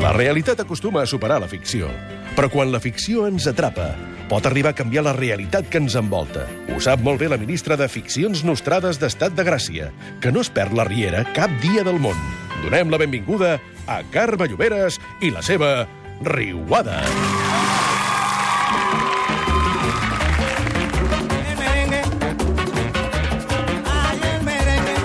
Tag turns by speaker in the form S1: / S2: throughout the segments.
S1: La realitat acostuma a superar la ficció, però quan la ficció ens atrapa, pot arribar a canviar la realitat que ens envolta. Ho sap molt bé la ministra de Ficcions Nostrades d'Estat de Gràcia, que no es perd la riera cap dia del món. Donem la benvinguda a Carme Lloberes i la seva Riuada.
S2: El merengue. Ay, el merengue.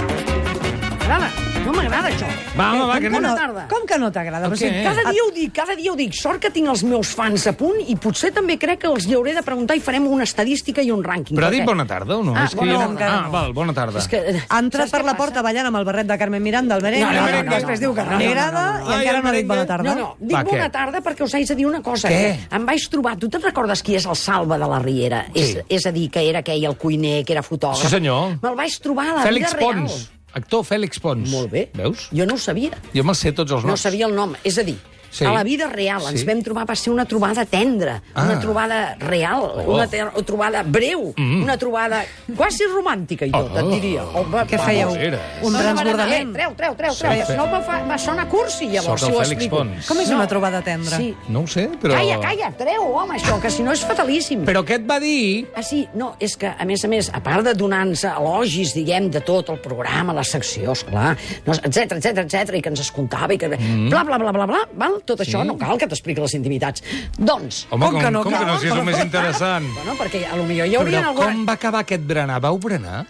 S3: m'agrada. No m'agrada, això. Eh,
S4: Va, home, va, que
S3: com,
S4: anem.
S3: no,
S4: a-
S3: tarda.
S5: Com que no t'agrada?
S4: Per
S5: Però
S4: què?
S5: si
S3: Cada dia ho dic, cada dia ho dic. Sort que tinc els meus fans a punt i potser també crec que els hi hauré de preguntar i farem una estadística i un rànquing.
S4: Però ha dit
S3: perquè-
S4: bona tarda o no?
S3: Ah,
S4: És que
S3: bona
S4: jo
S3: tarda,
S4: no-
S3: encara
S4: Ah,
S3: no.
S4: val, bona tarda.
S3: És que... eh,
S5: ha entrat
S3: saps
S5: per
S3: què
S5: la
S3: passa?
S5: porta ballant amb el barret de Carmen Miranda, el merengue.
S3: No, no, no, no,
S5: després diu que no.
S3: no,
S5: Li
S3: no,
S5: agrada
S3: no,
S5: i
S3: no,
S4: no.
S5: encara no ha
S4: Ai,
S5: dit bona
S4: el
S5: tarda.
S3: No, no, dic
S4: Va,
S3: bona
S4: què?
S3: tarda perquè us haig de dir una cosa.
S4: Què?
S3: Em vaig trobar... Tu te'n recordes qui és el Salva de la Riera?
S4: Sí.
S3: És, és a dir, que era aquell, el cuiner, que era fotògraf.
S4: Sí, senyor.
S3: Me'l vaig trobar a la
S4: Fèlix
S3: vida real.
S4: Pons, actor Fèlix Pons.
S3: Molt bé.
S4: Veus?
S3: Jo no ho sabia.
S4: Jo me'ls sé tots els
S3: No
S4: noms.
S3: sabia el nom. És a dir,
S4: Sí.
S3: sí. a la vida real ens
S4: Sí.
S3: vam trobar, va ser una trobada tendra,
S4: Ah.
S3: ah. una trobada real,
S4: Oh.
S3: oh. una ter- trobada breu, mm. una trobada quasi romàntica i tot,
S4: Oh.
S3: oh. et diria. Oh, va,
S5: Què fèieu?
S4: Era.
S5: Un
S3: No, no,
S5: transbordament?
S3: Eh, treu, treu, treu, treu.
S4: Sí.
S3: Sí. No me, fa, me sona cursi, llavors,
S4: Sort
S3: si
S4: el
S3: ho
S4: Fèlix
S3: explico.
S4: Pons.
S5: Com és una trobada tendra?
S3: Sí.
S4: No ho sé, però...
S3: Però... Calla, calla, treu, home, això, que si no és fatalíssim.
S4: Però què et va dir?
S3: Ah, sí, no, és que, a més a més, a part de donar-nos elogis, diguem, de tot el programa, la secció, esclar, no, etc etc etc i que ens escoltava i que...
S4: Mm-hmm.
S3: Mm. Bla, bla, bla, bla, bla, val? Tot això no cal que t'expliqui les intimitats. Doncs...
S4: Home, com,
S5: que no,
S4: com que no, si és el més interessant.
S3: Bueno, perquè a lo millor hi hauria
S4: Però com
S3: alguna...
S4: va acabar aquest berenar? Vau berenar?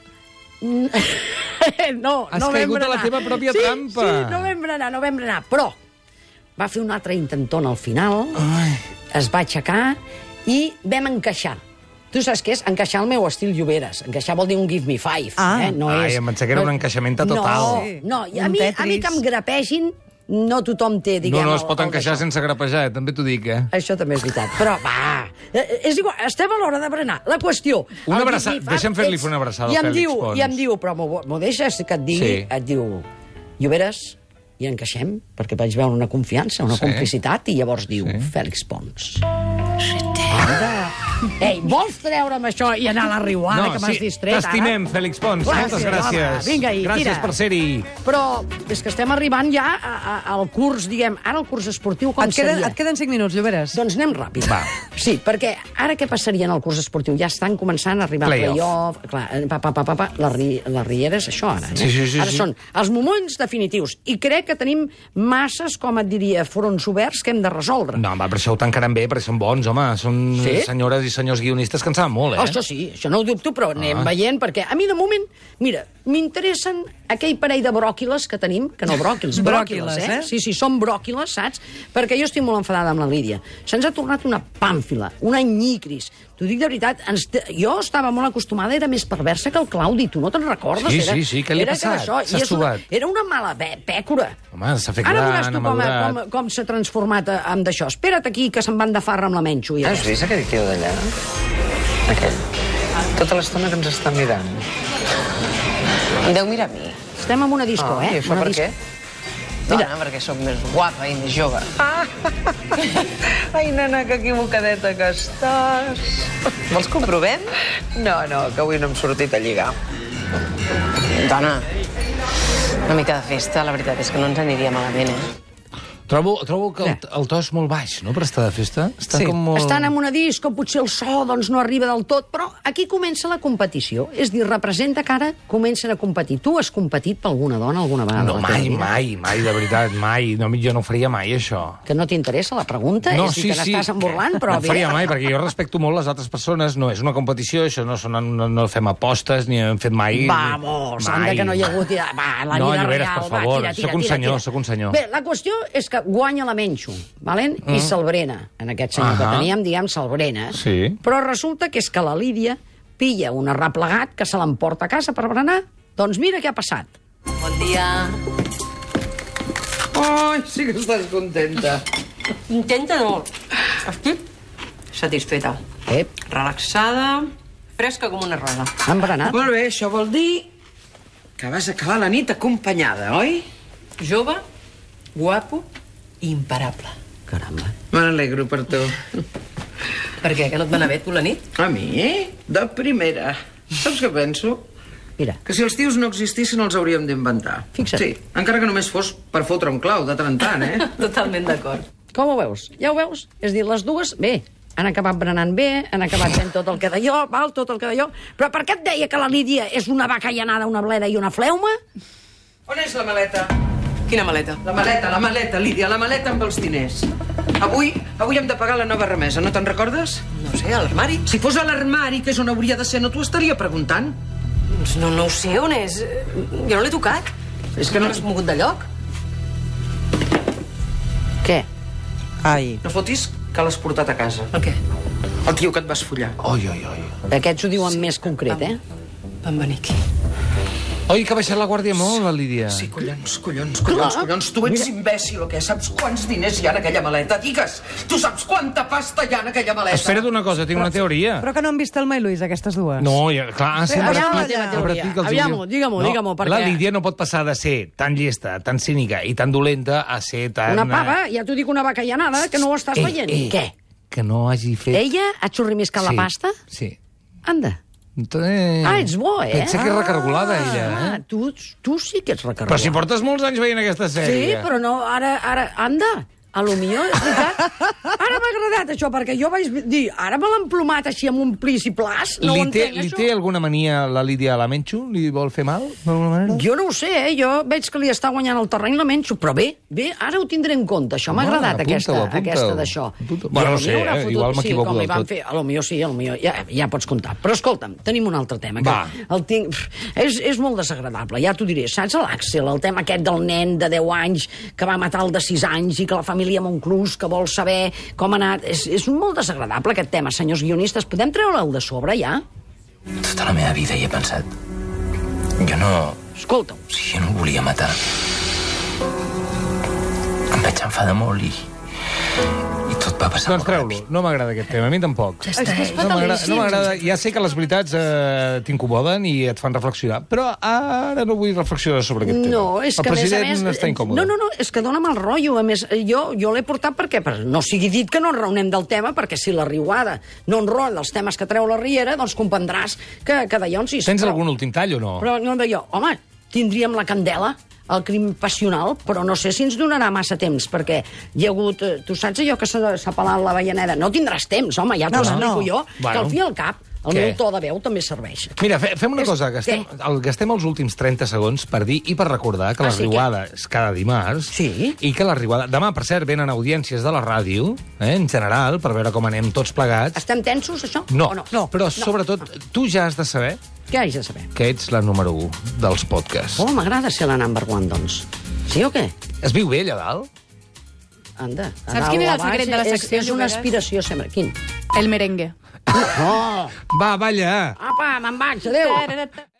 S3: no,
S4: Has
S3: no vam
S4: caigut a la
S3: berenar.
S4: teva pròpia
S3: sí,
S4: trampa.
S3: Sí, no vam berenar, no vam berenar. Però va fer un altre intentona al final,
S4: Ai.
S3: es va aixecar i vam encaixar. Tu saps què és? Encaixar el meu estil Lloberes. Encaixar vol dir un give me five.
S5: Ah.
S3: eh? no
S4: Ai,
S3: és...
S4: em pensava que era un encaixament a total.
S3: No, no. I a,
S5: Un
S3: mi, a mi
S5: Tetris.
S3: que em grapegin, no tothom té, diguem...
S4: no, no es pot
S3: el- el
S4: encaixar
S3: d'això.
S4: sense grapejar, eh? també t'ho dic, eh?
S3: Això també és veritat. Però va, eh, és igual, estem a l'hora de berenar. La qüestió...
S4: Una
S3: el
S4: abraça-
S3: Disney fa-
S4: deixa'm fer-li
S3: ets-
S4: una abraçada
S3: I em
S4: al Fèlix
S3: diu,
S4: Pons.
S3: I em diu, però m'ho m'ho deixes que et digui?
S4: Sí.
S3: Et diu, Lloberes, i encaixem, perquè vaig veure una confiança, una sí.
S4: Sí.
S3: complicitat, i llavors diu,
S4: Sí.
S3: sí. Fèlix Pons. Anda. Ei, vols treure'm això i anar a la riuada, que m'has distret, ara?
S4: T'estimem, Fèlix Pons.
S3: Gràcies,
S4: Moltes gràcies.
S3: home. Vinga, i
S4: gràcies
S3: tira.
S4: per ser-hi.
S3: Però és que estem arribant ja a, a, al curs, diguem, ara el curs esportiu com
S5: Et queden,
S3: seria?
S5: et queden 5 minuts, Lloberes.
S3: Doncs anem ràpid. Va. Sí, perquè ara què passaria en el curs esportiu? Ja estan començant a arribar
S4: Playoff.
S3: play playoff. Clar, eh, pa, pa, pa, pa, pa. La, ri, la riera és això, ara. Eh?
S4: Sí, sí, sí,
S3: ara
S4: sí.
S3: són els moments definitius. I crec que tenim masses, com et diria, fronts oberts que hem de resoldre.
S4: No, home, però això ho tancaran bé, perquè són bons, home. Són
S3: Sí?
S4: senyores i senyors guionistes que en saben molt, eh? Ah.
S3: Això sí, això no ho dubto, però anem veient, perquè a mi, de moment, mira, m'interessen aquell parell de bròquiles que tenim, que no bròquils, bròquiles,
S5: Bròquiles,
S3: eh?
S5: eh?
S3: Sí, sí, són bròquiles, saps? Perquè jo estic molt enfadada amb la Lídia. Se'ns ha tornat una pàmfila, una nyicris. T'ho dic de veritat, ens te... jo estava molt acostumada, era més perversa que el Claudi, tu no te'n recordes?
S4: Sí,
S3: era,
S4: sí, sí, què li ha
S3: era
S4: passat?
S3: Que això,
S4: S'ha
S3: i és una,
S4: subat.
S3: era una mala bé, pècora.
S4: Home, s'ha fet
S3: Ara
S4: gran,
S3: veuràs tu
S4: ha
S3: com,
S4: madurat.
S3: com, com s'ha transformat eh, amb d'això. Espera't aquí, que se'n van de farra amb la menxo. I
S4: Eh,
S6: Has vist aquell tio d'allà? Aquell. Tota l'estona que ens està mirant.
S7: Em deu mirar a mi.
S3: Estem en una disco,
S6: Ah,
S3: eh?
S6: I això
S3: Una
S6: per
S3: disco.
S6: què?
S7: Mira. Dona, perquè sóc més guapa i més jove.
S6: Ah. Ai, nena, que equivocadeta que estàs.
S7: Vols que ho provem?
S6: No, no, que avui no hem sortit a lligar.
S7: Dona, una mica de festa, la veritat és que no ens aniria malament, eh?
S4: Trobo, trobo que el, el to és molt baix, no?, per estar de festa. Està
S5: Sí.
S4: com molt...
S3: Estan en una disco, potser el so doncs, no arriba del tot, però aquí comença la competició. És a dir, representa que ara comencen a competir. Tu has competit per alguna dona alguna vegada?
S4: No,
S3: a la teva
S4: mai,
S3: vida?
S4: mai, mai, de veritat, mai. No, jo no ho faria mai, això.
S3: Que no t'interessa la pregunta?
S4: No,
S3: és a dir,
S4: sí,
S3: Eh, que
S4: sí.
S3: n'estàs emborlant, però...
S4: No ho faria
S3: evident-
S4: mai, perquè jo respecto molt les altres persones. No és una competició, això no, són, no, no fem apostes, ni hem fet mai...
S3: Vamos, anda que no hi ha hagut... tira- Va, la
S4: No,
S3: vida
S4: Lloberes,
S3: real,
S4: per
S3: va,
S4: favor,
S3: tira, tira,
S4: sóc un
S3: tira,
S4: senyor,
S3: tira.
S4: sóc un senyor.
S3: Bé, la qüestió és que guanya la Menxo, valent? Mm. i Salbrena, en aquest senyor
S4: Ahà.
S3: que teníem, diguem, Salbrena.
S4: Sí.
S3: Però resulta que és que la Lídia pilla un arreplegat que se l'emporta a casa per berenar. Doncs mira què ha passat.
S7: Bon dia.
S6: Ai, sí que estàs contenta.
S7: Intenta no. Estic satisfeta.
S3: Ep,
S7: Relaxada, fresca com una rosa.
S3: Eh? han berenat.
S6: Molt bé, això vol dir que vas acabar la nit acompanyada, oi?
S7: Jove, guapo i imparable.
S3: Caramba.
S6: Me n'alegro per tu.
S7: Per què? Que no et va anar bé tu la nit?
S6: A mi, eh? De primera. Saps què penso?
S3: Mira.
S2: Que si els tios no existissin els hauríem d'inventar.
S3: Fixa't.
S2: Sí, encara que només fos per fotre un clau de tant en tant, eh?
S7: Totalment d'acord.
S3: Com ho veus? Ja ho veus? És a dir, les dues, bé, han acabat berenant bé, han acabat fent tot el que d'allò, val, tot el que d'allò, però per què et deia que la Lídia és una vaca llanada, una bleda i una fleuma?
S2: On és la maleta?
S7: Quina maleta?
S2: La maleta, la maleta, Lídia, la maleta amb els diners. Avui, avui hem de pagar la nova remesa, no te'n recordes?
S7: No ho sé, a l'armari?
S2: Si fos a l'armari, que és on hauria de ser, no t'ho estaria preguntant?
S7: Doncs No, no ho sé, on és? Jo no l'he tocat.
S2: És que no-
S7: l'has mogut de lloc?
S3: Què?
S5: Ai.
S2: No fotis que l'has portat a casa.
S7: El què?
S2: El tio que et vas follar.
S4: Oi, oi, oi.
S3: Aquests ho diuen més concret, eh?
S7: Van venir aquí.
S4: Oi, que ha baixat la guàrdia molt, la Lídia.
S2: Sí, collons, collons, collons,
S3: Clar.
S2: collons. Tu ets imbècil o què? Saps quants diners hi ha en aquella maleta? Digues! Tu saps quanta pasta hi ha en aquella maleta?
S4: Espera't una cosa, tinc una teoria.
S5: Però que no han vist el Mai Luis, aquestes dues.
S4: No, ja, clar, sempre...
S5: aviam
S4: es
S5: la
S4: pica-
S5: teva teoria.
S4: sempre es pica els
S3: Aviam-ho,
S4: oients.
S3: digue-m'ho, digue-m'ho, perquè-
S4: La Lídia no pot passar de ser tan llesta, tan cínica i tan dolenta a ser tan...
S3: Una pava,
S4: eh,
S3: ja t'ho dic, una vaca llanada, que no ho estàs
S4: ei,
S3: veient.
S4: ei,
S3: Què?
S4: Que no hagi fet...
S3: Ella ha xurrimiscat la pasta?
S4: eh. Sí.
S3: Anda.
S4: Entonces...
S3: Ah, ets bo, eh?
S4: Pensa que és recargolada, ella,
S3: Ah,
S4: eh?
S3: tu, tu sí que ets recargolada.
S4: Però si portes molts anys veient aquesta
S3: Sí,
S4: sèrie.
S3: però no, ara, ara, anda, a lo millor, és veritat. Ara m'ha agradat això, perquè jo vaig dir, ara me l'han plomat així amb un plis i plas, no
S4: li,
S3: ho
S4: té,
S3: entenc,
S4: li
S3: això.
S4: té alguna mania la Lídia a la Menxo? Li vol fer mal, d'alguna manera?
S3: Jo no ho sé, eh? jo veig que li està guanyant el terreny la menxo, però bé, bé, ara ho tindré en compte, això m'ha
S4: Home,
S3: agradat,
S4: apunta-ho,
S3: aquesta,
S4: apunta-ho.
S3: aquesta d'això.
S4: Apunta-ho.
S3: I
S4: Bueno,
S3: a lo
S4: no sé,
S3: millor haurà
S4: eh? Igual
S3: Sí,
S4: m'equivoco
S3: com
S4: del
S3: li van
S4: tot.
S3: fer, a lo millor sí, a lo millor, ja, ja pots comptar. Però escolta'm, tenim un altre tema.
S4: Va.
S3: Que el tinc... pff, És, és molt desagradable, ja t'ho diré. Saps l'Àxel, el tema aquest del nen de 10 anys que va matar el de 6 anys i que la família Montclús que vol saber com ha anat... És, és molt desagradable aquest tema, senyors guionistes. Podem treure'l de sobre, ja?
S8: Tota la meva vida hi he pensat. Jo no...
S3: Escolta'm.
S8: Si jo no el volia matar. Em vaig enfadar molt i... I tot va passar
S4: Doncs
S8: molt
S4: treu-lo, no m'agrada aquest tema, a mi tampoc. No m'agrada, no m'agrada. Ja sé que les veritats eh, t'incomoden i et fan reflexionar, però ara no vull reflexionar sobre aquest tema.
S3: No, és que a
S4: El
S3: més
S4: president
S3: a més...
S4: està incòmode.
S3: No, no, no, és que dóna mal rotllo. A més, eh, jo, jo l'he portat perquè per, no sigui dit que no ens reunem del tema, perquè si la riuada no enrola els temes que treu la Riera, doncs comprendràs que, que d'allò en sí.
S4: Tens algun últim tall o no?
S3: Però no d'allò. Home, tindríem la candela, el crim passional, però no sé si ens donarà massa temps, perquè hi ha hagut... eh, Tu saps allò que s'ha s'ha pelat la veianeda? No tindràs temps, home, ja t'ho
S5: No,
S3: explico
S5: no.
S3: jo, que
S4: Bueno.
S3: al fi i al cap el
S4: Què?
S3: meu to de veu també serveix.
S4: Mira, fe, fem una
S3: És-
S4: cosa, gastem,
S3: què?
S4: el, gastem els últims 30 segons per dir i per recordar que
S3: Ah,
S4: la
S3: sí,
S4: Riuada és cada dimarts
S3: Sí.
S4: i que la Riuada... Demà, per cert, venen audiències de la ràdio, eh, en general, per veure com anem tots plegats.
S3: Estem tensos, això?
S4: No,
S3: o no?
S4: però sobretot tu ja has de saber
S3: Què haig de saber?
S4: que ets la número 1 dels podcasts.
S3: Oh, m'agrada ser la number one, doncs. Sí o què?
S4: Es viu bé allà dalt?
S3: Anda.
S9: Saps quin és el secret de la secció,
S3: És, és una
S9: Lloberes?
S3: aspiració sempre. Quin?
S9: El merengue.
S3: Oh,
S4: Va, balla!
S3: apa, me'n vaig, adéu.